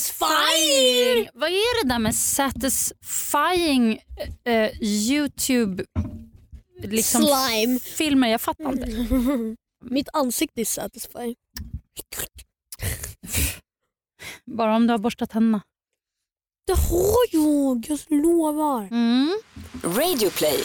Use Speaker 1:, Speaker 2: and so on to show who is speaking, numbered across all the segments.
Speaker 1: Satisfying!
Speaker 2: Vad är det där med satisfying eh, Youtube liksom
Speaker 1: Slime. Mm.
Speaker 2: filmer? Jag fattar inte.
Speaker 1: Mitt ansikte är satisfying.
Speaker 2: Bara om du har borstat tänderna.
Speaker 1: Det har jag, jag lovar.
Speaker 2: Mm.
Speaker 3: Radio play.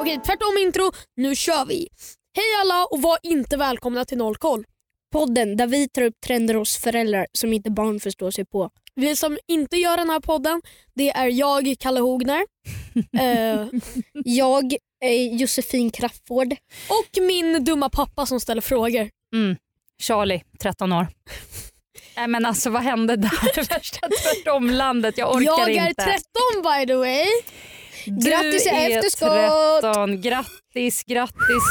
Speaker 1: Okej, tvärtom intro. Nu kör vi. Hej alla och var inte välkomna till Noll koll.
Speaker 4: Podden där vi tar upp trender hos föräldrar som inte barn förstår sig på.
Speaker 1: Vi som inte gör den här podden, det är jag, Kalle Hogner. eh,
Speaker 4: Jag är Josefin Crafoord.
Speaker 1: och min dumma pappa som ställer frågor.
Speaker 2: Mm. Charlie, 13 år. Nej men alltså vad hände där? Värsta tvärtomlandet. Jag orkar
Speaker 1: jag är
Speaker 2: inte.
Speaker 1: 13 by the way.
Speaker 2: Du
Speaker 4: Grattis i
Speaker 2: är
Speaker 4: efterskott!
Speaker 2: 13. Grattis, grattis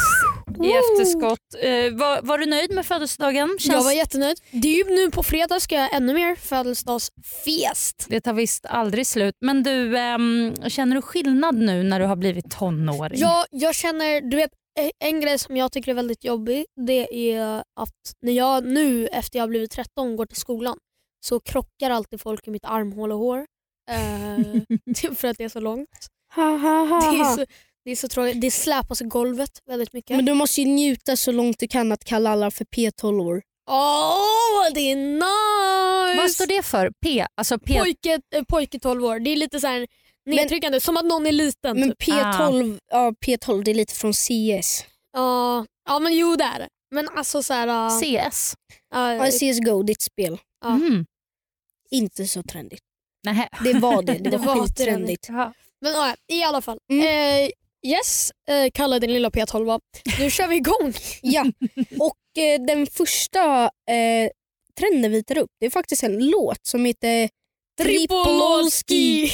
Speaker 2: i efterskott. Eh, var, var du nöjd med födelsedagen?
Speaker 1: Jag
Speaker 2: Känns...
Speaker 1: var jättenöjd. Det är ju nu på fredag ska jag ha ännu mer födelsedagsfest.
Speaker 2: Det tar visst aldrig slut. Men du, ehm, känner du skillnad nu när du har blivit tonåring?
Speaker 1: Jag, jag känner, du vet eh, en grej som jag tycker är väldigt jobbig det är att när jag nu efter jag har blivit 13 går till skolan så krockar alltid folk i mitt armhål och hår. Eh, för att det är så långt.
Speaker 4: Ha, ha,
Speaker 1: Det är så, det är så tråkigt. Det släpas i golvet väldigt mycket.
Speaker 4: Men du måste ju njuta så långt du kan att kalla alla för P12-or.
Speaker 1: Åh, det är nice!
Speaker 2: Vad står det för? P? Alltså P
Speaker 1: Pojke, eh, pojke 12 år. Det är lite så här nedtryckande, som att någon är liten.
Speaker 4: Men
Speaker 1: typ.
Speaker 4: P12, ja, P12 det är lite från CS.
Speaker 1: Ja, ja men jo det är det. Men alltså så här... eh,
Speaker 2: CS?
Speaker 4: Ja,
Speaker 1: eh,
Speaker 4: CSGO, ditt spel.
Speaker 1: Ja.
Speaker 2: Mm.
Speaker 4: Inte så trendigt.
Speaker 2: Nähä.
Speaker 4: Det var det.
Speaker 1: Det
Speaker 4: Det
Speaker 1: var
Speaker 4: var
Speaker 1: det.
Speaker 4: skittrendigt.
Speaker 2: Jaha.
Speaker 1: Men ja, i alla fall.
Speaker 4: Mm.
Speaker 1: Eh, yes, eh, kalla din lilla P12. Nu kör vi igång.
Speaker 4: Ja. Och eh, den första eh, trenden vi tar upp det är faktiskt en låt som heter
Speaker 1: Tripololski.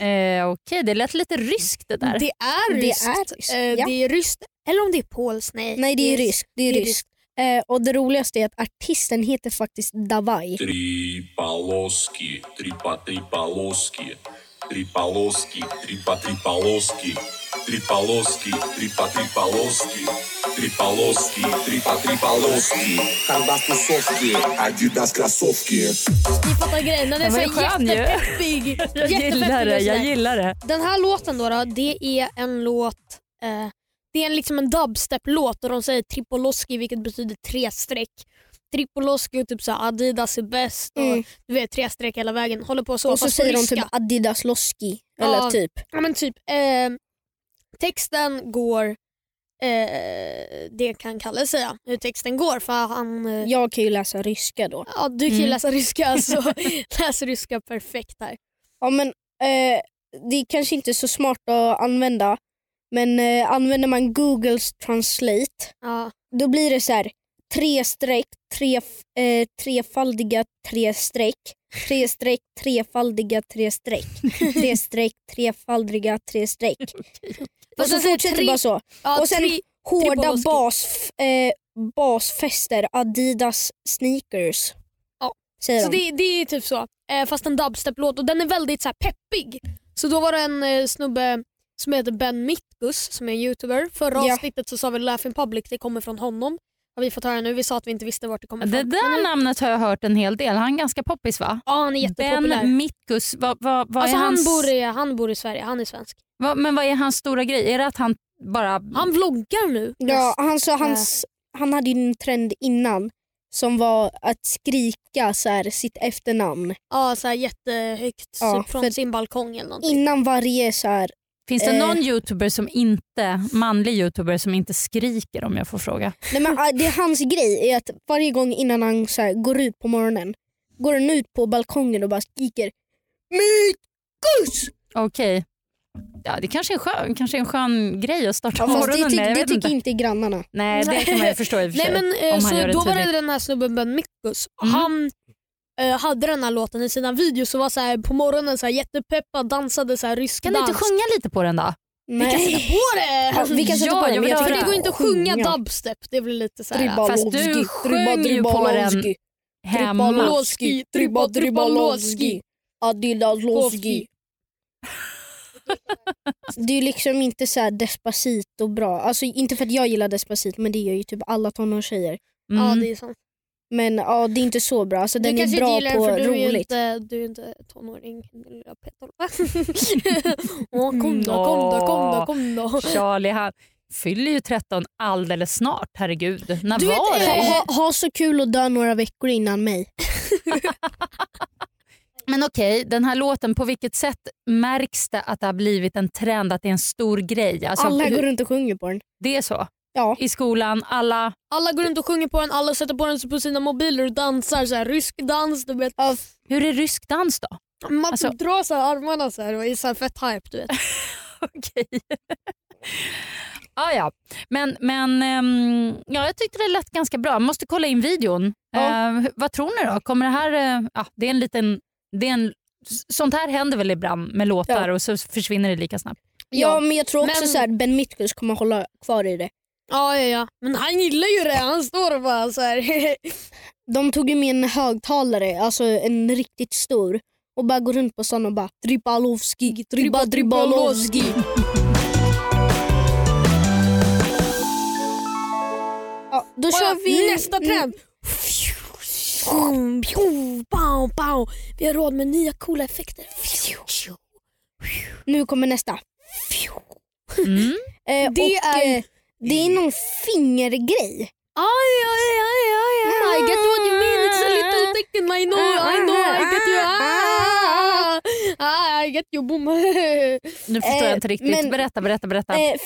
Speaker 2: Eh, Okej, det lät lite ryskt det där.
Speaker 1: Det är
Speaker 4: Det
Speaker 1: ryskt.
Speaker 4: är ryskt,
Speaker 1: Eh,
Speaker 4: ja.
Speaker 1: det är ryskt. Eller om det är polskt. Nej,
Speaker 4: Nej, det är ryskt. Det är
Speaker 1: Det är
Speaker 4: ryskt. Eh, och det roligaste är att artisten heter faktiskt Davai.
Speaker 5: Три полоски, три по три полоски, три полоски, три по три полоски, три полоски, три по три полоски, три полоски, три по три полоски. Когда тусовки, адидас кроссовки.
Speaker 1: Ni fattar grejen. Den är
Speaker 2: Ja, men
Speaker 1: så
Speaker 2: det är skön ju.
Speaker 1: jättepeppig.
Speaker 2: jag gillar
Speaker 1: Jättepeppig
Speaker 2: det.
Speaker 1: och sådär.
Speaker 2: Jag gillar det.
Speaker 1: Den här låten då, då det är en låt eh, det är en, liksom en dubstep-låt och de säger Tripoloski vilket betyder tre streck. Tripoloski och typ så här, Adidas är bäst och
Speaker 4: Mm.
Speaker 1: du vet tre streck hela vägen. Håller på så.
Speaker 4: Och så
Speaker 1: fast på
Speaker 4: säger de
Speaker 1: ryska.
Speaker 4: typ Adidas Loski.
Speaker 1: Ja.
Speaker 4: Eller typ.
Speaker 1: Ja men typ. Eh, texten går, eh, det kan Kalle säga, hur texten går för han eh,
Speaker 4: Jag kan ju läsa ryska då.
Speaker 1: Ja, du kan ju
Speaker 2: Mm.
Speaker 1: läsa ryska så läs ryska perfekt här.
Speaker 4: Ja, men, eh, det är kanske inte så smart att använda. Men eh, använder man Googles translate
Speaker 1: Ja.
Speaker 4: då blir det så här tre streck, tre, f- eh, trefaldiga tre streck, tre streck, trefaldiga tre streck, tre streck, trefaldiga tre streck. Och så
Speaker 1: sen säger
Speaker 4: fortsätter
Speaker 1: alltså, tre-
Speaker 4: det bara så.
Speaker 1: Ja,
Speaker 4: Och sen
Speaker 1: tri-
Speaker 4: Hårda
Speaker 1: Tripolowski.
Speaker 4: bas, eh, basfester, Adidas sneakers.
Speaker 1: Ja.
Speaker 4: Säger
Speaker 1: Så
Speaker 4: de.
Speaker 1: det, det är typ så. Eh, fast en dubstep-låt och den är väldigt så här, peppig. Så då var det en eh, snubbe som heter Ben Mitkus som är en youtuber. Förra
Speaker 4: Ja.
Speaker 1: avsnittet så sa vi Laugh in Public, det kommer från honom. Har vi fått höra nu. Vi sa att vi inte visste vart det kommer
Speaker 2: Det
Speaker 1: ifrån. Men
Speaker 2: där
Speaker 1: nu-
Speaker 2: namnet har jag hört en hel del. Han är ganska poppis va?
Speaker 1: Ja, han är jättepopulär.
Speaker 2: Ben Mitkus, vad, vad, vad
Speaker 1: alltså,
Speaker 2: är
Speaker 1: han,
Speaker 2: hans...
Speaker 1: bor i, han bor i Sverige, han är svensk.
Speaker 2: vad, men vad är hans stora grej? Är det att han bara...
Speaker 1: Han vloggar nu. Eh,
Speaker 4: ja, han, sa hans, han hade ju en trend innan som var att skrika så här, sitt efternamn
Speaker 1: Ja, så här, jättehögt
Speaker 4: Ja,
Speaker 1: så, från
Speaker 4: för-
Speaker 1: sin balkong eller någonting.
Speaker 4: innan varje så här,
Speaker 2: Finns det
Speaker 4: eh.
Speaker 2: någon youtuber som inte, manlig youtuber som inte skriker om jag får fråga?
Speaker 4: Nej, men, ah, det är hans grej är att varje gång innan han så här, går ut på morgonen går han ut på balkongen och bara skriker Mykus!
Speaker 2: Okej. Ja, det kanske är, skön, kanske är en skön grej att starta
Speaker 4: Ja, fast det,
Speaker 2: morgonen
Speaker 4: tyck,
Speaker 2: med. Jag
Speaker 4: det
Speaker 2: vet
Speaker 4: tycker
Speaker 2: inte.
Speaker 4: inte grannarna.
Speaker 2: Nej, det kan man ju förstå i och för
Speaker 1: Nej
Speaker 2: sig.
Speaker 1: men eh,
Speaker 2: om han
Speaker 1: så
Speaker 2: gör det
Speaker 1: då var det
Speaker 2: tidigt.
Speaker 1: den här snubben Ben Mikkus.
Speaker 2: Mm.
Speaker 1: Han eh, hade den här låten i sina videos och var så här, på morgonen så här, jättepeppad, dansade så här, rysk
Speaker 2: Kan du
Speaker 1: dans.
Speaker 2: inte sjunga lite på den då?
Speaker 1: Vi kan sätta
Speaker 4: Nej.
Speaker 1: på det!
Speaker 4: Ja, vi kan sätta
Speaker 2: Ja,
Speaker 4: på den,
Speaker 2: jag
Speaker 4: men
Speaker 2: vill
Speaker 4: jag
Speaker 2: höra.
Speaker 1: För
Speaker 4: tycker
Speaker 1: det går inte att sjunga dubstep. Det blir lite så här...
Speaker 2: Fast du
Speaker 4: Tribalowski,
Speaker 2: sjöng ju på den
Speaker 4: Tribalowski.
Speaker 2: Hemma.
Speaker 1: Tribalowski, Tribalowski,
Speaker 4: Adidaslowski. Det är ju liksom inte så här Despacito bra. Alltså inte för att jag gillar Despacito men det gör ju typ alla tonårstjejer.
Speaker 2: Mm.
Speaker 1: Ja, det är sant.
Speaker 4: Men ja, det är inte så bra. Alltså, den
Speaker 1: du
Speaker 4: är
Speaker 1: kanske inte
Speaker 4: bra
Speaker 1: gillar den
Speaker 4: på
Speaker 1: för du är ju
Speaker 4: roligt.
Speaker 1: inte, du är ju inte tonåring. lilla Petter. Åh, kom då, kom då, kom då, kom då.
Speaker 2: Charlie han fyller ju 13 alldeles snart, herregud. När
Speaker 1: Du vet,
Speaker 2: var
Speaker 1: eh,
Speaker 2: det?
Speaker 4: Ha, ha, ha så kul och dö några veckor innan mig.
Speaker 2: Men okej, den här låten, på vilket sätt märks det att det har blivit en trend, att det är en stor grej? Alltså,
Speaker 4: Alla
Speaker 2: hur-
Speaker 4: går runt och sjunger på den.
Speaker 2: Det är så?
Speaker 4: Ja.
Speaker 2: I skolan, alla...
Speaker 1: Alla går runt och sjunger på den, alla sätter på den på sina mobiler och dansar så här, rysk dans. Du vet.
Speaker 2: Hur är rysk dans då?
Speaker 1: Man typ
Speaker 2: Alltså-
Speaker 1: drar så här armarna så här och är så här fett hype. Du vet.
Speaker 2: Okej. ah, ja. Men, men ehm, ja, jag tyckte det lät ganska bra. Måste kolla in videon.
Speaker 4: Ja.
Speaker 2: Eh, vad tror ni då? Kommer det här... eh, ja, det är en liten... Det är en, sånt här händer väl ibland med låtar och så försvinner det lika snabbt.
Speaker 4: Ja, men jag tror också
Speaker 1: Men-
Speaker 4: så här, Ben Mitkus kommer hålla kvar i det.
Speaker 1: Ja, ja, ja. Men han gillar ju det. Han står och bara så här.
Speaker 4: De tog ju med en högtalare, alltså en riktigt stor och bara går runt på sån och bara Dribalovski, Driba Dribalovski. Ja, Mm, då
Speaker 1: Och ja,
Speaker 4: kör vi
Speaker 1: nästa trend. Fjum, fjum, bam, bam. Vi har råd med nya coola effekter. Fjum, fjum.
Speaker 4: Nu kommer nästa.
Speaker 2: Mm.
Speaker 4: Eh,
Speaker 1: Det
Speaker 4: och,
Speaker 1: är-
Speaker 4: eh, det är någon fingergrej.
Speaker 1: Aj, aj, aj, aj, aj. I get what you mean. It's a little taken. I know,
Speaker 4: ah,
Speaker 1: I know. I get you. Ah, ah, I get you. Boom.
Speaker 2: Nu förstår
Speaker 4: Eh,
Speaker 2: jag inte riktigt.
Speaker 4: men-
Speaker 2: berätta, berätta, berätta.
Speaker 4: Eh, f-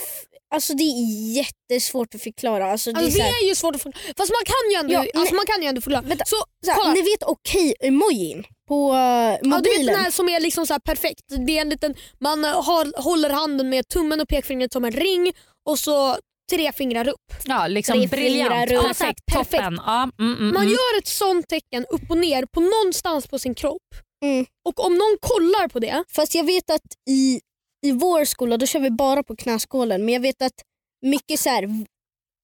Speaker 4: alltså det är jättesvårt att förklara. Alltså, det är
Speaker 1: Alltså,
Speaker 4: så
Speaker 1: det
Speaker 4: här,
Speaker 1: är ju svårt att förklara. Fast man kan ju ändå,
Speaker 4: Ja, men-
Speaker 1: alltså, man kan ju ändå förklara.
Speaker 4: Vänta,
Speaker 1: Så,
Speaker 4: så här,
Speaker 1: kolla.
Speaker 4: ni vet okej-emojin på eh,
Speaker 1: Ja, du vet
Speaker 4: mobilen?
Speaker 1: den här som är liksom så här perfekt. Det är en liten, man har, håller handen med tummen och pekfingret som en ring och så tre fingrar upp.
Speaker 2: ja, liksom
Speaker 4: tre fingrar
Speaker 2: briljant,
Speaker 4: runt.
Speaker 2: perfekt,
Speaker 1: Ja, perfekt.
Speaker 2: toppen. Ja, mm, mm,
Speaker 1: Man
Speaker 2: mm.
Speaker 1: gör ett sånt tecken upp och ner på någonstans på sin kropp.
Speaker 4: Mm.
Speaker 1: Och om någon kollar på det,
Speaker 4: Fast jag vet att i, i vår skola då kör vi bara på knäskålen men jag vet att mycket så här v-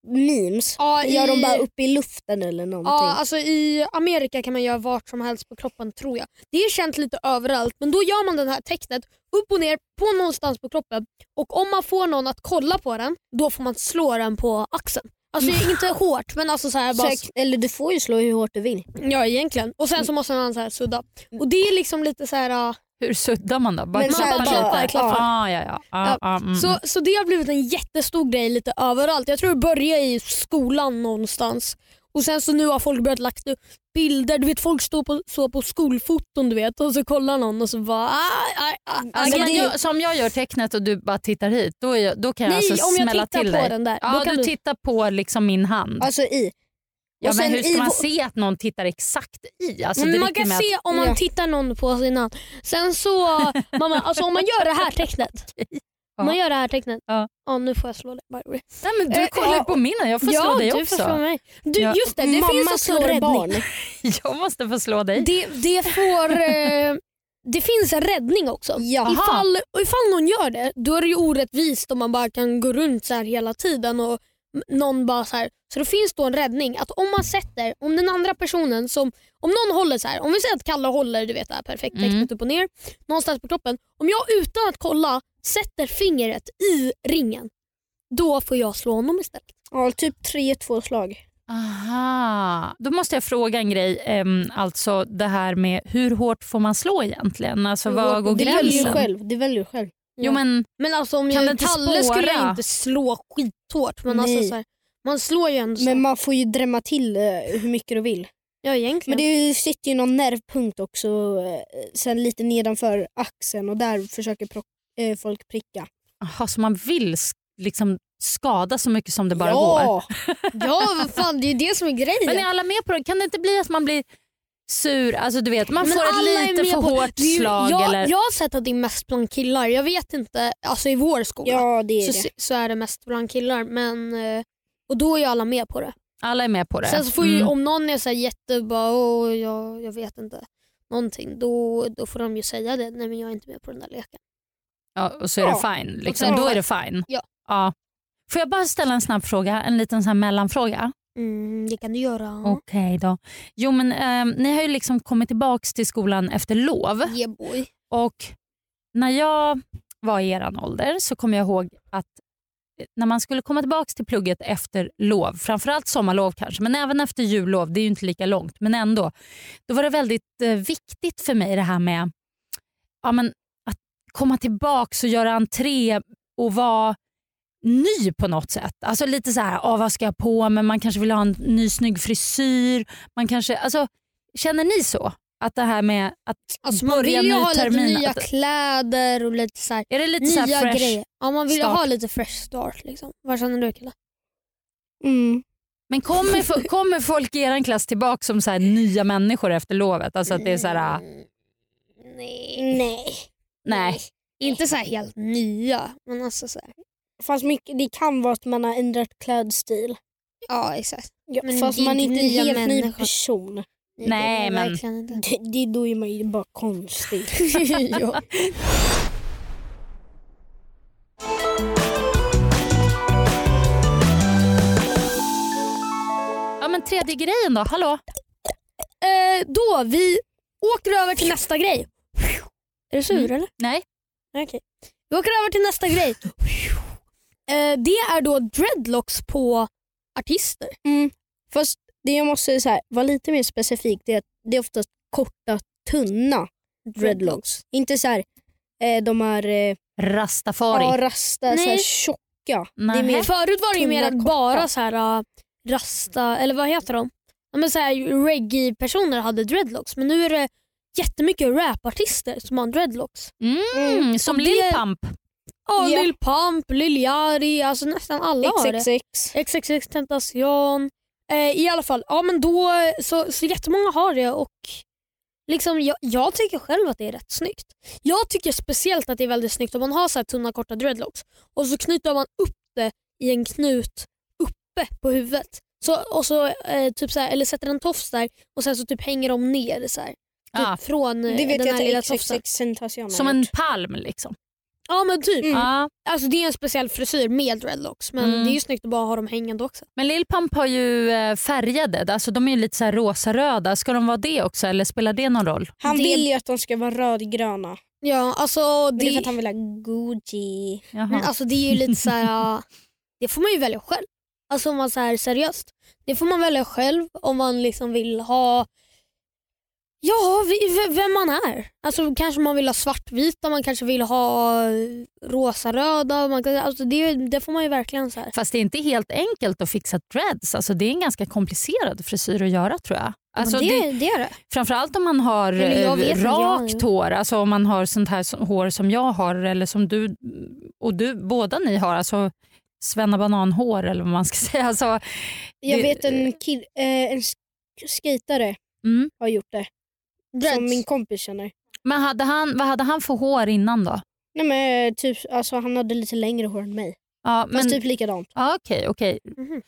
Speaker 4: memes
Speaker 1: ja, i,
Speaker 4: gör de bara uppe i luften eller någonting.
Speaker 1: ja, alltså i Amerika kan man göra vart som helst på kroppen tror jag. Det är känt lite överallt men då gör man det här tecknet upp och ner på någonstans på kroppen och om man får någon att kolla på den då får man slå den på axeln. Alltså inte hårt men alltså så här,
Speaker 4: Mm. så
Speaker 1: bara
Speaker 4: här, eller du får ju slå hur hårt du vill.
Speaker 1: Ja egentligen. Och sen så måste han så här sudda.
Speaker 2: Mm.
Speaker 1: Och det är liksom lite så här. ah,
Speaker 2: Hur suddar man då? Bara
Speaker 4: Men så
Speaker 2: klappa
Speaker 4: här,
Speaker 2: lite?
Speaker 4: bara-
Speaker 1: klappa.
Speaker 2: Ah, ja, ja. Ah,
Speaker 1: Ja,
Speaker 2: ah, mm.
Speaker 1: Så, så det har blivit en jättestor grej lite överallt. Jag tror det började i skolan någonstans. Och sen så nu har folk börjat lagt upp bilder. Du vet folk står på, så på skolfoton du vet och så kollar någon och så bara... Ah, ah, ah,
Speaker 2: Alltså,
Speaker 1: ah,
Speaker 2: om
Speaker 1: grej.
Speaker 2: jag, så om jag gör tecknet och du bara tittar hit, då, är jag, då kan jag
Speaker 1: Nej,
Speaker 2: alltså
Speaker 1: om jag
Speaker 2: smälla
Speaker 1: tittar
Speaker 2: till
Speaker 1: på
Speaker 2: dig?
Speaker 1: den där.
Speaker 2: Ja,
Speaker 1: då kan
Speaker 2: du
Speaker 1: du
Speaker 2: tittar på liksom min hand.
Speaker 4: Alltså i.
Speaker 2: ja,
Speaker 4: och
Speaker 2: men
Speaker 4: sen
Speaker 2: hur ska
Speaker 4: i
Speaker 2: man
Speaker 4: vår-
Speaker 2: se att någon tittar exakt i? Alltså, det
Speaker 1: Men Mm, man
Speaker 2: räcker
Speaker 1: kan
Speaker 2: med att-
Speaker 1: se om man
Speaker 4: Ja.
Speaker 1: tittar någon på sin hand. Sen så, mamma, alltså om man gör det här tecknet. Om man gör det här tecknet.
Speaker 2: Ja.
Speaker 1: Ja, nu får jag slå dig. by the way.
Speaker 2: Nej, men du
Speaker 1: Eh,
Speaker 2: kollar ju
Speaker 1: ja.
Speaker 2: på min, jag får slå dig
Speaker 1: du
Speaker 2: också.
Speaker 1: Får slå mig. Du,
Speaker 2: Ja.
Speaker 1: Just det, det
Speaker 4: Mamma
Speaker 1: finns också en
Speaker 4: slår
Speaker 1: räddning.
Speaker 4: barn.
Speaker 2: Jag måste få slå dig.
Speaker 1: Det, det, får, eh, det finns en räddning också.
Speaker 4: Ja.
Speaker 2: Aha.
Speaker 1: Ifall, och ifall någon gör det, då är det ju orättvist om man bara kan gå runt så här hela tiden och m- någon bara så här. Så det finns då en räddning att om man sätter, om den andra personen som, om någon håller så här, om vi säger att Kalle håller du vet det här perfekt
Speaker 2: Mm.
Speaker 1: tecknet upp och ner någonstans på kroppen. Om jag utan att kolla sätter fingret i ringen, då får jag slå honom istället.
Speaker 4: Ja, typ tre, två slag.
Speaker 2: Aha. Då måste jag fråga en grej. ehm, alltså det här med hur hårt får man slå egentligen? Alltså,
Speaker 1: Hur
Speaker 2: var
Speaker 1: hårt-
Speaker 2: går
Speaker 4: Du väljer ju
Speaker 2: gränsen?
Speaker 4: själv. Du väljer ju själv.
Speaker 2: Jo, men,
Speaker 1: Men alltså om
Speaker 2: Kan det
Speaker 1: jag
Speaker 2: inte
Speaker 1: Kalle skulle
Speaker 2: spåra?
Speaker 1: jag inte slå skithårt men alltså
Speaker 4: Nej.
Speaker 1: så här, man slår ju ändå så
Speaker 4: Men man får ju drämma till eh, hur mycket du vill.
Speaker 1: Ja egentligen.
Speaker 4: Men det sitter ju någon nervpunkt också eh, sen lite nedanför axeln och där försöker pro- eh, folk pricka.
Speaker 2: aha, så man vill sk- liksom skada så mycket som det bara går?
Speaker 4: ja!
Speaker 1: Ja vad fan det är ju det som är grejen.
Speaker 2: Men är alla med på det? Kan det inte bli att man blir sur? Alltså du vet, man
Speaker 1: Men
Speaker 2: får
Speaker 1: alla är
Speaker 2: ett lite
Speaker 1: med
Speaker 2: för
Speaker 1: på-
Speaker 2: hårt
Speaker 1: Det är ju-
Speaker 2: slag.
Speaker 1: jag,
Speaker 2: eller...
Speaker 1: jag har sett att det är mest bland killar. Jag vet inte, alltså i vår skola
Speaker 4: Ja, det är
Speaker 1: så,
Speaker 4: det.
Speaker 1: så är det mest bland killar. Men, eh, och då är ju alla med på det.
Speaker 2: Alla är med på det.
Speaker 1: Sen så får ju,
Speaker 2: Mm.
Speaker 1: om någon är så här jätte, bara, "Åh, jag, jag vet inte någonting, då, då får de ju säga det. Nej men jag är inte med på den där leken.
Speaker 2: ja, och så är
Speaker 4: Ja.
Speaker 2: det fine. Liksom.
Speaker 1: är det
Speaker 2: Då är
Speaker 1: fine.
Speaker 2: det fine.
Speaker 1: Ja.
Speaker 2: Får jag bara ställa en snabb fråga? En liten sån här mellanfråga?
Speaker 1: Mm, det kan du göra.
Speaker 2: Okej då. Jo men ehm, ni har ju liksom kommit tillbaka till skolan efter lov
Speaker 1: Yeah boy.
Speaker 2: och när jag var i eran ålder så kommer jag ihåg att eh, när man skulle komma tillbaka till plugget efter lov, framförallt sommarlov kanske, men även efter jullov, det är ju inte lika långt, men ändå. Då var det väldigt eh, viktigt för mig det här med ja, men att komma tillbaka och göra entré och vara ny på något sätt. Alltså lite så här, ah, vad ska jag på Men Man kanske vill ha en ny snygg frisyr. Man kanske, alltså, känner ni så? Att det här med att
Speaker 1: Alltså, man
Speaker 2: börja
Speaker 1: vill ju
Speaker 2: ny
Speaker 1: ha lite
Speaker 2: termin.
Speaker 1: nya
Speaker 2: att,
Speaker 1: kläder och lite så här,
Speaker 2: är det lite så
Speaker 1: nya
Speaker 2: här fresh?
Speaker 1: grejer. Ja, man vill ju
Speaker 2: start.
Speaker 1: ha lite fresh start. Liksom. Vad känner du Killa?
Speaker 4: Mm.
Speaker 2: Men kommer, fo- kommer folk i er klass tillbaka som så här nya människor efter lovet? Alltså att det är så här, ah,
Speaker 1: Mm, Nej.
Speaker 4: Nej.
Speaker 2: nej.
Speaker 1: Inte så här helt nya, men alltså så här.
Speaker 4: Fast mycket, det kan vara att man har ändrat klädstil.
Speaker 1: Ja, exakt.
Speaker 4: Ja,
Speaker 1: Men
Speaker 4: fast
Speaker 1: det är
Speaker 4: man är
Speaker 1: inte
Speaker 4: inte en
Speaker 1: nya
Speaker 4: helt ny
Speaker 1: människor.
Speaker 4: person.
Speaker 2: Nej,
Speaker 1: det är
Speaker 2: men-
Speaker 1: verkligen inte.
Speaker 4: Det, det, då är man ju bara konstig.
Speaker 1: ja.
Speaker 2: Ja, men tredje grejen då, hallå?
Speaker 1: eh, då, vi åker över till nästa grej. Är du sur
Speaker 2: Mm.
Speaker 1: eller?
Speaker 2: Nej.
Speaker 1: Okej. Vi åker över till nästa grej. Eh, det är då dreadlocks på artister.
Speaker 4: Mm. Fast det jag måste så här, vara lite mer specifik det är att det är oftast korta, tunna dreadlocks. Inte så här, eh, de här eh,
Speaker 2: Rastafari.
Speaker 4: ja, rasta, så här,
Speaker 1: Nej.
Speaker 4: tjocka.
Speaker 2: Nej.
Speaker 4: Det är mer
Speaker 1: Förut var det ju mer
Speaker 4: Tunna,
Speaker 1: att
Speaker 4: korta.
Speaker 1: bara så här, äh, rasta, eller vad heter de? Ja, men så här, reggae-personer hade dreadlocks men nu är det jättemycket rapartister som har dreadlocks.
Speaker 2: Mm, som
Speaker 1: Och
Speaker 2: Lil
Speaker 1: det-
Speaker 2: Pump.
Speaker 1: Ja,
Speaker 4: Ja.
Speaker 1: Lil Pump, Lil Yari, alltså nästan alla har det.
Speaker 4: XXX.
Speaker 1: XXX Tentacion. Eh, I alla fall, ja men då så, så jättemånga har det och liksom, jag, jag tycker själv att det är rätt snyggt. Jag tycker speciellt att det är väldigt snyggt om man har så här tunna korta dreadlocks och så knyter man upp det i en knut uppe på huvudet. Så, och så, eh, typ så här, eller sätter en tofs där och sen så typ hänger de ner så här, typ
Speaker 2: Ja,
Speaker 1: från eh,
Speaker 4: Ah. Det vet
Speaker 1: den här
Speaker 4: jag
Speaker 1: lilla
Speaker 4: att
Speaker 1: tofsen.
Speaker 4: XXX Tentacion har
Speaker 2: som en palm liksom.
Speaker 1: Ja men typ.
Speaker 4: Mm.
Speaker 2: Ja,
Speaker 1: Alltså, det är en speciell frisyr med dreadlocks men
Speaker 2: Mm.
Speaker 1: det är ju snyggt att bara ha dem hängande också.
Speaker 2: men Lil Pump har ju eh, färgade, alltså de är ju lite så här rosa-röda. Ska de vara det också eller spelar det någon roll?
Speaker 4: Han
Speaker 1: Det-
Speaker 4: vill ju att de ska vara rödgröna.
Speaker 1: Ja, alltså
Speaker 4: Det är för att han vill ha Gucci.
Speaker 1: Men
Speaker 2: Jaha.
Speaker 1: alltså det är ju lite så här. det får man ju välja själv. Alltså om man så här seriöst. Det får man välja själv om man liksom vill ha Ja, vi- v- vem man är. Alltså Kanske man vill ha svartvita, man kanske vill ha rosa-röda. Man kan, alltså det, det får man ju verkligen så här.
Speaker 2: Fast det är inte helt enkelt att fixa dreads. Alltså det är en ganska komplicerad frisyr att göra tror jag. Alltså,
Speaker 1: Men det,
Speaker 2: det-
Speaker 1: det, är det.
Speaker 2: Framförallt om man har
Speaker 1: Eller jag
Speaker 2: eh,
Speaker 1: vet inte, jag-
Speaker 2: rakt hår, alltså om man har sånt här som- hår som jag har eller som du och du, båda ni har, alltså svennebananhår eller vad man ska säga. Alltså,
Speaker 4: Jag
Speaker 2: Det-
Speaker 4: vet en, kill, eh, en sk- skejtare
Speaker 2: mm.
Speaker 4: har gjort det.
Speaker 1: Dreads.
Speaker 4: Som min kompis känner.
Speaker 2: Men hade han, vad hade han för hår innan då?
Speaker 4: Nej, men, eh, typ, alltså, han hade lite längre hår än mig.
Speaker 2: Ja, men,
Speaker 4: Fast typ likadant.
Speaker 2: ja, okej, okej.
Speaker 1: Mhm.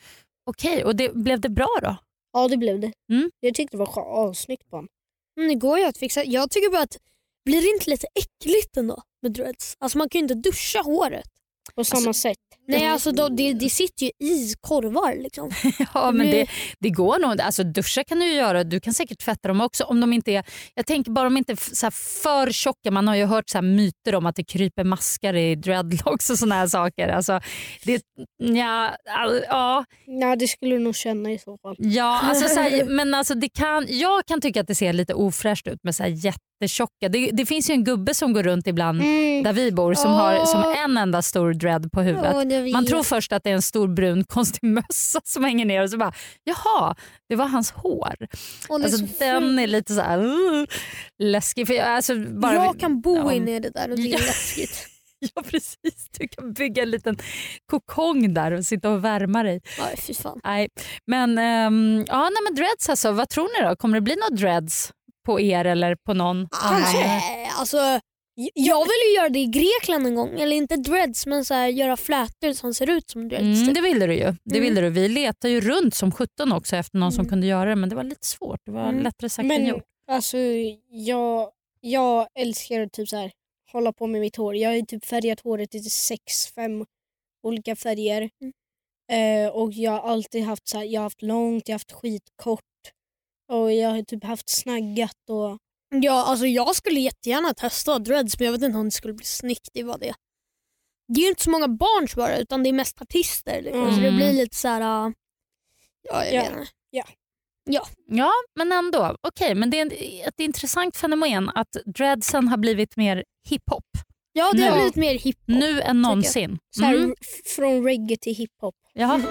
Speaker 2: Okej, och det, blev det bra då?
Speaker 4: Ja det blev det.
Speaker 2: Mm.
Speaker 4: Jag tyckte det var sk- assnyggt på honom.
Speaker 1: Men Mm, det går ju att fixa. Jag tycker bara att, blir det inte lite äckligt ändå med dreads? Alltså man kan ju inte duscha håret.
Speaker 4: På samma sätt.
Speaker 1: Nej, alltså då, det, det sitter ju i korvar liksom.
Speaker 2: Ja, men
Speaker 1: Nu-
Speaker 2: det, det går nog. Alltså, duscha kan du ju göra. Du kan säkert tvätta dem också. Om de inte är, jag tänker bara om de inte är f- så här för tjocka. Man har ju hört så här myter om att det kryper maskar i dreadlocks och såna här saker. Alltså, det, ja, all- ja,
Speaker 4: Nej det skulle du nog känna i så fall.
Speaker 2: ja, alltså, så här, men alltså, det kan, jag kan tycka att det ser lite ofräscht ut med så här jättetjocka. Det, det finns ju en gubbe som går runt ibland
Speaker 4: Mm.
Speaker 2: där vi bor som har som
Speaker 1: Åh.
Speaker 2: en enda stor dread på huvudet. Man tror först att det är en stor brun konstig mössa som hänger ner och så bara, jaha, det var hans hår.
Speaker 1: Och det är
Speaker 2: Alltså,
Speaker 1: så
Speaker 2: den
Speaker 1: fult.
Speaker 2: är lite så här uh, läskig. För jag, alltså, bara,
Speaker 1: jag kan bo
Speaker 2: ja.
Speaker 1: inne i det där och det
Speaker 2: Ja.
Speaker 1: är läskigt.
Speaker 2: Ja, precis. Du kan bygga en liten kokong där och sitta och värma dig.
Speaker 1: Nej, fy fan.
Speaker 2: Nej. Men, ehm, ja, nej, men dreads alltså, vad tror ni då? Kommer det bli några dreads på er eller på någon? annan?
Speaker 1: Nej, alltså, jag vill ju göra det i Grekland en gång, eller inte dreads men så här, göra flätor som ser ut som dreads.
Speaker 2: Mm,
Speaker 1: typ.
Speaker 2: det ville du ju. Det
Speaker 1: Mm.
Speaker 2: ville du. Vi letade ju runt som 17 också efter någon som
Speaker 1: Mm.
Speaker 2: kunde göra det men det var lite svårt. Det var
Speaker 1: Mm.
Speaker 2: lättare sagt än
Speaker 4: Men
Speaker 2: gjort.
Speaker 4: alltså jag, jag älskar att typ så här, hålla på med mitt hår. Jag har ju typ färgat håret i sex, fem olika färger.
Speaker 1: Mm.
Speaker 4: Eh, och jag har alltid haft så här, jag har haft långt, jag har haft skitkort och jag har typ haft snaggat och
Speaker 1: Ja, alltså jag skulle jättegärna testa dreads men jag vet inte om det skulle bli snyggt. Det, var det. det är ju inte så många barn som gör det utan det är mest artister. Liksom. Så det
Speaker 2: Mm.
Speaker 1: blir lite så här. äh, Ja, jag
Speaker 4: Ja.
Speaker 1: vet inte.
Speaker 2: Ja, men ändå. Okej, men det är en- ett intressant fenomen att dreadsen har blivit mer hiphop
Speaker 1: Ja, det har
Speaker 2: Nu.
Speaker 1: blivit mer hiphop.
Speaker 2: nu än någonsin.
Speaker 4: Så här,
Speaker 2: Mm.
Speaker 4: f- Från reggae till hiphop.
Speaker 2: Jaha.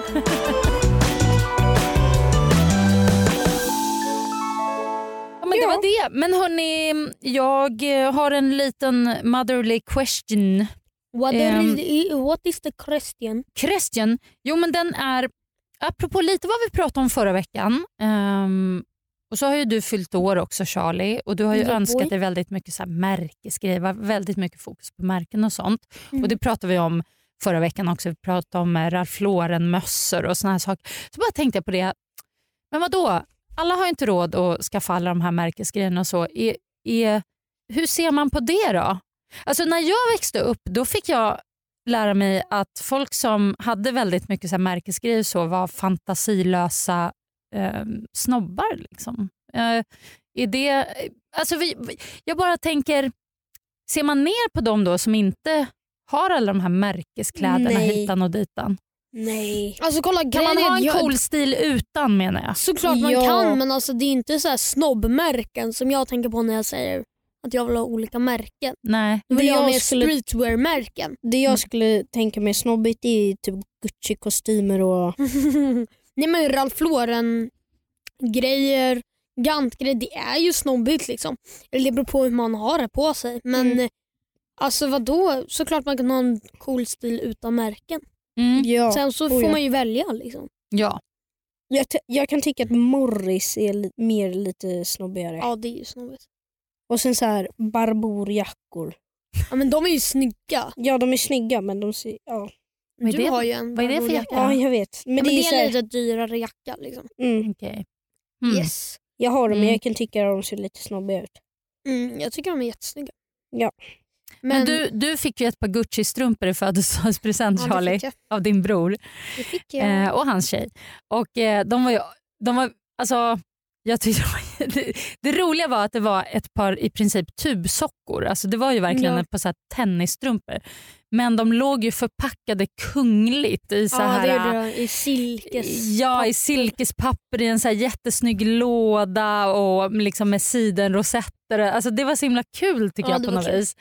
Speaker 2: Ja, men det
Speaker 4: Ja.
Speaker 2: var det. Men hörni, jag eh, har en liten motherly question.
Speaker 1: What,
Speaker 2: Ehm.
Speaker 1: is the, what is the question?
Speaker 2: Question. Jo, men den är... Apropå lite vad vi pratade om förra veckan. ehm, och så har ju du fyllt år också Charlie och du har ju
Speaker 1: Yeah,
Speaker 2: önskat
Speaker 1: boy.
Speaker 2: dig väldigt mycket så här märkesgrejer. var Väldigt mycket fokus på märken och sånt.
Speaker 1: Mm.
Speaker 2: Och Det pratade vi om förra veckan också. Vi pratade om eh, Ralph Lauren-mössor och såna här saker. Så bara tänkte jag på det. Men vad då? Alla har ju inte råd att skaffa alla de här märkesgrejerna och så. Är, är, hur ser man på det då? Alltså när jag växte upp då fick jag lära mig att folk som hade väldigt mycket så här märkesgrejer så var fantasilösa eh, snobbar. Liksom. Eh, är det, alltså vi, vi- jag bara tänker, ser man ner på dem då som inte har alla de här märkeskläderna
Speaker 4: Nej.
Speaker 2: hitan och ditan?
Speaker 4: Nej.
Speaker 1: Alltså kolla,
Speaker 2: Kan man ha en
Speaker 1: jag,
Speaker 2: cool stil utan menar jag?
Speaker 1: Såklart man
Speaker 4: Ja.
Speaker 1: kan men alltså, det är inte så här snobbmärken som jag tänker på när jag säger att jag vill ha olika märken.
Speaker 2: Nej.
Speaker 1: Då vill
Speaker 4: Det
Speaker 1: jag ha
Speaker 4: jag
Speaker 1: mer
Speaker 4: skulle-
Speaker 1: streetwear-märken.
Speaker 4: Det jag skulle tänka mig snobbigt är typ Gucci-kostymer och...
Speaker 1: Nej men Ralph Lauren grejer, Gant-grejer, det är ju snobbigt liksom. Eller det beror på hur man har det på sig. Men
Speaker 4: Mm.
Speaker 1: mm. alltså vadå, såklart man kan ha en cool stil utan märken.
Speaker 2: Mm.
Speaker 4: Ja.
Speaker 1: Sen så
Speaker 4: Oh,
Speaker 1: får
Speaker 4: ja.
Speaker 1: man ju välja liksom.
Speaker 2: Ja.
Speaker 4: Jag, t- jag kan tycka att Morris är li- mer lite snobbigare.
Speaker 1: Ja det är ju snobbigt.
Speaker 4: Och sen så här barborjackor.
Speaker 1: Ja men de är ju snygga.
Speaker 4: Ja, de är snygga men de ser... Ja,
Speaker 2: Vad är
Speaker 1: du
Speaker 2: det-
Speaker 1: har ju en
Speaker 2: vad är det för
Speaker 1: Barbie-
Speaker 2: jacka?
Speaker 1: Ja,
Speaker 4: ja jag vet. Men
Speaker 1: Men
Speaker 4: det är, så
Speaker 1: en
Speaker 4: här,
Speaker 1: lite dyrare jacka liksom.
Speaker 4: mm,
Speaker 2: Okej. Mm.
Speaker 1: Yes.
Speaker 4: Jag har dem men
Speaker 2: Mm.
Speaker 4: jag kan tycka att de ser lite snobbiga ut.
Speaker 1: Mm, jag tycker de är jättesnygga.
Speaker 4: Ja.
Speaker 1: Men,
Speaker 2: Men du, du fick ju ett par Gucci-strumpor i födelsedagspresent
Speaker 1: ja, det
Speaker 2: Charlie
Speaker 1: fick jag.
Speaker 2: av din bror
Speaker 1: Det fick jag.
Speaker 2: eh, och hans tjej. Och, eh, de var ju, de var, alltså, jag tyckte de var, det, det roliga var att det var ett par i princip tubsockor. Alltså, det var ju verkligen
Speaker 1: Ja.
Speaker 2: ett par så här, tennisstrumpor. Men de låg ju förpackade kungligt i så
Speaker 1: ja,
Speaker 2: här,
Speaker 1: det är det. I silkes.
Speaker 2: Ja, i silkespapper i en så här jättesnygg låda och liksom med sidenrosetter. Alltså det var så himla kul tycker
Speaker 1: Ja,
Speaker 2: jag
Speaker 1: det
Speaker 2: på
Speaker 1: var
Speaker 2: något
Speaker 1: kul.
Speaker 2: vis.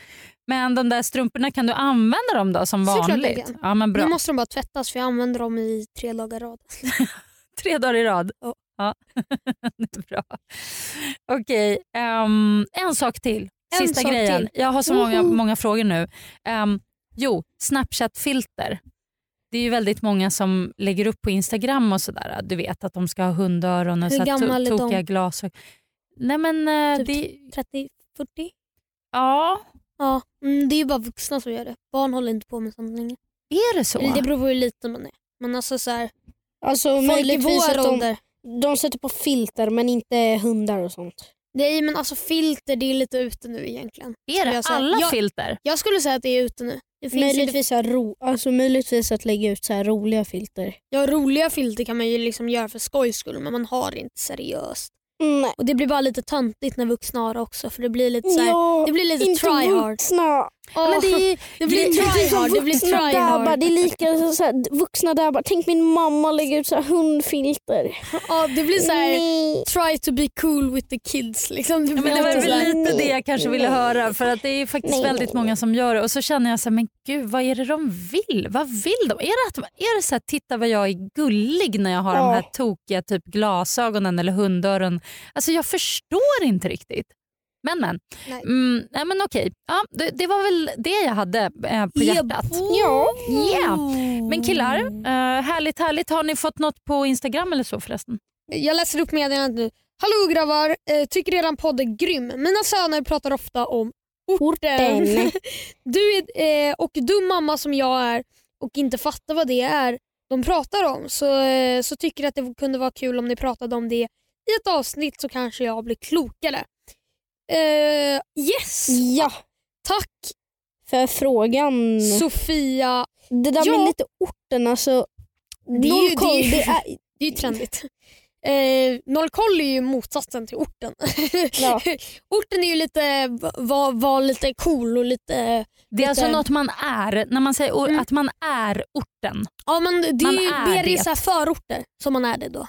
Speaker 2: Men de där strumporna, kan du använda dem då som
Speaker 1: Såklart jag
Speaker 2: vanligt?
Speaker 1: kan.
Speaker 2: Ja, men
Speaker 1: Nu
Speaker 2: bra.
Speaker 1: måste de bara tvättas för jag använder dem i tre dagar i rad.
Speaker 2: Tre dagar i rad.
Speaker 1: Ja.
Speaker 2: Ja. det är bra. Okej, ehm, en sak till.
Speaker 1: En
Speaker 2: Sista
Speaker 1: sak
Speaker 2: grejen.
Speaker 1: till.
Speaker 2: Jag har så många,
Speaker 1: Woho!
Speaker 2: många frågor nu. Ehm, jo, Snapchat-filter. Det är ju väldigt många som lägger upp på Instagram och sådär. Du vet att de ska ha hundöron och
Speaker 1: Hur
Speaker 2: så här to-
Speaker 1: gammal är de?
Speaker 2: tokiga glasögon. Nej men eh,
Speaker 1: Typ
Speaker 2: det...
Speaker 1: 30, 40?
Speaker 2: Ja,
Speaker 1: Ja, mm, det är ju bara vuxna som gör det. Barn håller inte på med sånt längre.
Speaker 2: är det så?
Speaker 1: Eller det beror på hur liten man är. Men alltså så här,
Speaker 4: Alltså
Speaker 1: folk i
Speaker 4: möjligtvis
Speaker 1: vår
Speaker 4: att de,
Speaker 1: ålder.
Speaker 4: de sätter på filter men inte hundar och sånt.
Speaker 1: Nej men alltså filter det är lite ute nu egentligen.
Speaker 2: är
Speaker 1: skulle
Speaker 2: det
Speaker 1: jag säga.
Speaker 2: alla
Speaker 1: Jag-
Speaker 2: filter?
Speaker 1: Jag skulle säga att det är ute nu. Det finns inte,
Speaker 4: Möjligtvis, så här ro, alltså möjligtvis att lägga ut så här roliga filter.
Speaker 1: ja, roliga filter kan man ju liksom göra för skojs skull men man har det inte seriöst.
Speaker 4: Nej.
Speaker 1: Och Det blir bara lite töntigt när vuxna har det också för det blir lite så här,
Speaker 4: Ja,
Speaker 1: det blir lite
Speaker 4: inte
Speaker 1: try hard.
Speaker 4: vuxna.
Speaker 1: Ja,
Speaker 2: Men det är ju-
Speaker 1: det blir
Speaker 2: det-
Speaker 1: try hard. Det blir
Speaker 4: vuxna
Speaker 1: try
Speaker 4: dabbar.
Speaker 1: hard.
Speaker 4: Det är lika så här, vuxna dabbar. Tänk min mamma lägga ut så här hundfilter.
Speaker 1: Ja, det blir så här,
Speaker 4: Nej.
Speaker 1: try to be cool with the kids. Liksom. Det
Speaker 2: Ja, men
Speaker 1: blir
Speaker 2: det var
Speaker 1: alltid så här-
Speaker 2: väl lite
Speaker 4: Nej,
Speaker 2: det jag kanske ville
Speaker 4: nej.
Speaker 2: höra för att det är faktiskt
Speaker 4: Nej,
Speaker 2: väldigt
Speaker 4: nej,
Speaker 2: många som gör det och så känner jag så här, men gud vad är det de vill? Vad vill de? Är det, att, de- är det så här, titta vad jag är gullig när jag har de
Speaker 4: Ja.
Speaker 2: här tokiga typ glasögonen eller hundöron? Alltså jag förstår inte riktigt. Men men,
Speaker 1: Nej.
Speaker 2: Mm, nej, men okej, ja, det, det var väl det jag hade eh, på
Speaker 1: Ja,
Speaker 2: hjärtat.
Speaker 4: Ja.
Speaker 2: Yeah. Men killar, eh, härligt härligt. Har ni fått något på Instagram eller så förresten?
Speaker 1: Jag läser upp meddelandet nu. Hallå grabbar, eh, tycker eran podd är grym. Mina söner pratar ofta om orten.
Speaker 4: Orten.
Speaker 1: Du är, eh, och dum mamma som jag är och inte fattar vad det är de pratar om så, eh, så tycker jag att det kunde vara kul om ni pratade om det i ett avsnitt så kanske jag blir klokare. Eh, yes!
Speaker 4: Ja,
Speaker 1: Tack
Speaker 4: för frågan.
Speaker 2: Mm.
Speaker 1: Sofia.
Speaker 4: det där
Speaker 1: Ja.
Speaker 4: med lite orten alltså.
Speaker 1: är ju-
Speaker 4: noll koll,
Speaker 1: det är ju-
Speaker 4: det är,
Speaker 1: Det är ju trendigt. Eh, Norrkoll är ju motsatsen till orten.
Speaker 4: Ja.
Speaker 1: orten är ju lite, var, var lite cool och lite...
Speaker 2: Det är alltså
Speaker 1: Lite-
Speaker 2: något man är, när man säger or-
Speaker 1: Mm.
Speaker 2: att man är orten.
Speaker 1: Ja men det
Speaker 2: Man
Speaker 1: är ju
Speaker 2: är
Speaker 1: mer i
Speaker 2: det.
Speaker 1: så här förorter som man är det då.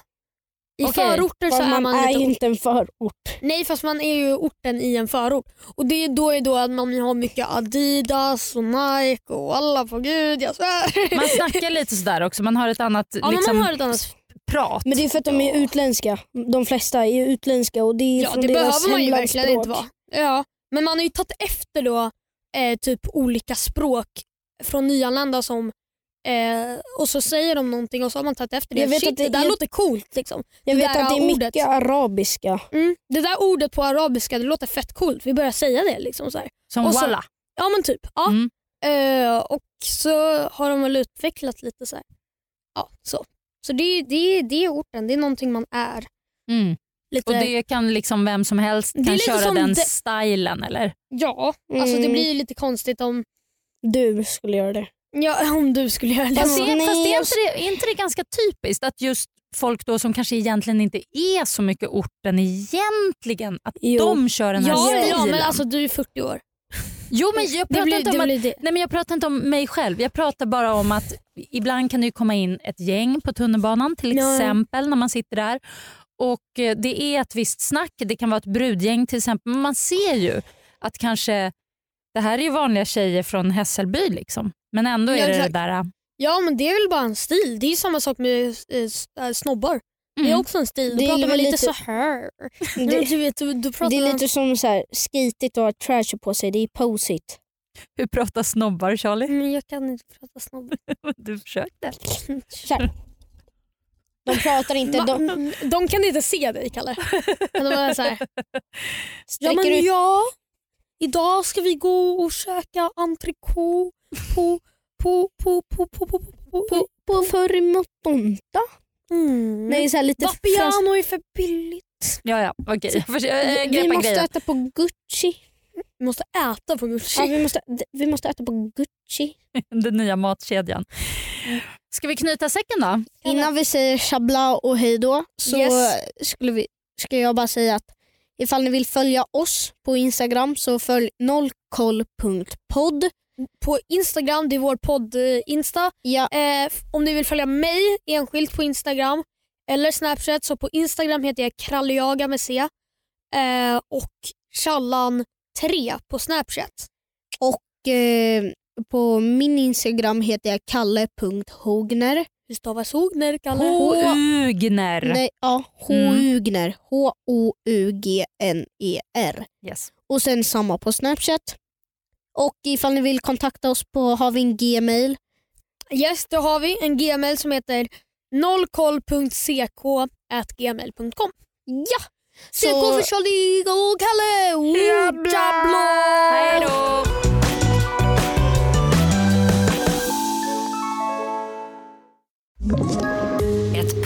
Speaker 1: I
Speaker 2: Okej.
Speaker 1: förorter så
Speaker 4: För
Speaker 1: är
Speaker 4: man
Speaker 1: man
Speaker 4: är
Speaker 1: lite
Speaker 4: ju inte en förort.
Speaker 1: Nej fast man är ju orten i en förort. Och det är då, är då att man har mycket Adidas och Nike och alla på gud jag svär.
Speaker 2: Man snackar lite sådär också, man har ett annat
Speaker 1: ja,
Speaker 2: liksom,
Speaker 1: men man hör ett annat.
Speaker 2: prat.
Speaker 4: Men det är för att de är utländska. De flesta är ju utländska och det är
Speaker 1: Ja
Speaker 4: från
Speaker 1: det
Speaker 4: deras
Speaker 1: behöver man ju
Speaker 4: hemlandsspråk.
Speaker 1: verkligen inte vara. Ja, men man har ju tagit efter då eh, typ olika språk från nyanlända som eh, och så säger de någonting och så har man tagit efter det.
Speaker 4: Jag vet
Speaker 1: Shit,
Speaker 4: att
Speaker 1: det,
Speaker 4: det-
Speaker 1: där
Speaker 4: jag-
Speaker 1: låter coolt. Liksom.
Speaker 4: Jag
Speaker 1: Det
Speaker 4: vet
Speaker 1: där
Speaker 4: att det är
Speaker 1: ordet.
Speaker 4: mycket arabiska.
Speaker 1: Mm. Det där ordet på arabiska det låter fett coolt. Vi börjar säga det. Liksom, så här.
Speaker 2: Som
Speaker 1: och så-
Speaker 2: walla.
Speaker 1: Ja men typ. Ja.
Speaker 2: Mm.
Speaker 1: Eh, och så har de väl utvecklat lite så här. Ja, så. Så det, det, det är orten, det är någonting man är.
Speaker 2: Mm.
Speaker 1: Lite,
Speaker 2: Och det kan liksom vem som helst
Speaker 1: Det är
Speaker 2: kan
Speaker 1: lite
Speaker 2: köra
Speaker 1: som
Speaker 2: den
Speaker 1: det-
Speaker 2: stilen eller?
Speaker 1: Ja, alltså det
Speaker 4: Mm.
Speaker 1: blir ju lite konstigt om,
Speaker 4: Du skulle göra det.
Speaker 1: ja, om du skulle göra det.
Speaker 2: Fast, det,
Speaker 4: nej,
Speaker 2: fast det är,
Speaker 4: jag-
Speaker 2: inte det, är inte det ganska typiskt att just folk då som kanske egentligen inte är så mycket orten egentligen, att
Speaker 4: Jo.
Speaker 2: de kör den här
Speaker 1: ja,
Speaker 2: stilen.
Speaker 1: ja, men alltså du är 40 år.
Speaker 2: jo men jag
Speaker 1: Det
Speaker 2: pratar
Speaker 1: blir,
Speaker 2: inte
Speaker 1: det
Speaker 2: om att
Speaker 1: blir det.
Speaker 2: Nej, men jag pratar inte om mig själv. Jag pratar bara om att ibland kan det ju komma in ett gäng på tunnelbanan till
Speaker 1: Ja.
Speaker 2: exempel när man sitter där. Och eh, Det är ett visst snack, det kan vara ett brudgäng till exempel. Men man ser ju att kanske, det här är ju vanliga tjejer från Hässelby liksom. Men ändå är
Speaker 1: Ja,
Speaker 2: det det
Speaker 1: exakt.
Speaker 2: där. eh,
Speaker 1: Ja men det är väl bara en stil. Det är ju samma sak med eh, s- eh, snobbar. Det är
Speaker 2: Mm.
Speaker 1: också en stil. Då
Speaker 4: Det är
Speaker 1: pratar man
Speaker 4: väl
Speaker 1: lite,
Speaker 4: lite-
Speaker 1: så här. Men
Speaker 4: Det,
Speaker 1: du vet, du, du pratar
Speaker 4: det
Speaker 1: man-
Speaker 4: är lite som så här, skitigt att ha trasher på sig. Det är posit.
Speaker 2: Hur pratar snobbar Charlie?
Speaker 1: Men jag kan inte prata snobbar.
Speaker 2: Du försökte.
Speaker 4: Så här. De pratar inte.
Speaker 1: Va-
Speaker 4: De
Speaker 1: De kan inte se dig Kalle. Men de är så här. Ja
Speaker 4: sträcker
Speaker 1: men
Speaker 4: ut.
Speaker 1: ja, idag ska vi gå och käka entrecote på, på, på, på, på, på, på, på.
Speaker 4: På, på förr mot måndag.
Speaker 1: Mm.
Speaker 4: Det är så här lite franskt.
Speaker 1: Vapiano är för billigt.
Speaker 2: Ja, ja, okej. Jag, försöker- jag, jag
Speaker 4: Vi
Speaker 2: greppar
Speaker 4: måste
Speaker 2: grejen.
Speaker 4: äta på Gucci.
Speaker 1: Vi måste äta på
Speaker 4: Ja,
Speaker 1: Gucci.
Speaker 4: vi, måste, vi måste äta på Gucci.
Speaker 2: Den nya matkedjan. Ska vi knyta säcken då?
Speaker 4: Innan vi säger shabla och hejdå så
Speaker 1: Yes.
Speaker 4: skulle vi, ska jag bara säga att ifall ni vill följa oss på Instagram så följ nollkoll.podd.
Speaker 1: På Instagram, det är vår podd eh, Insta.
Speaker 4: Ja,
Speaker 1: Eh, f- om ni vill följa mig enskilt på Instagram eller Snapchat så på Instagram heter jag krallejaga med C eh, och challan3 på Snapchat.
Speaker 4: och, eh, på min Instagram heter jag kalle.hogner.
Speaker 1: Hur stavas Hogner Kalle?
Speaker 2: Hugner.
Speaker 4: Nej, ja, H-U-G-N-E-R. H-O-U-G-N-E-R.
Speaker 2: Yes.
Speaker 4: Och sen samma på Snapchat. Och ifall ni vill kontakta oss på har vi en gmail.
Speaker 1: Yes, då har vi en gmail som heter nollkoll.ck.gmail.com
Speaker 4: Ja!
Speaker 1: CK för
Speaker 4: Så,
Speaker 1: Charlie och Kalle! Oh, jävlar!
Speaker 2: Hej då!
Speaker 3: Ett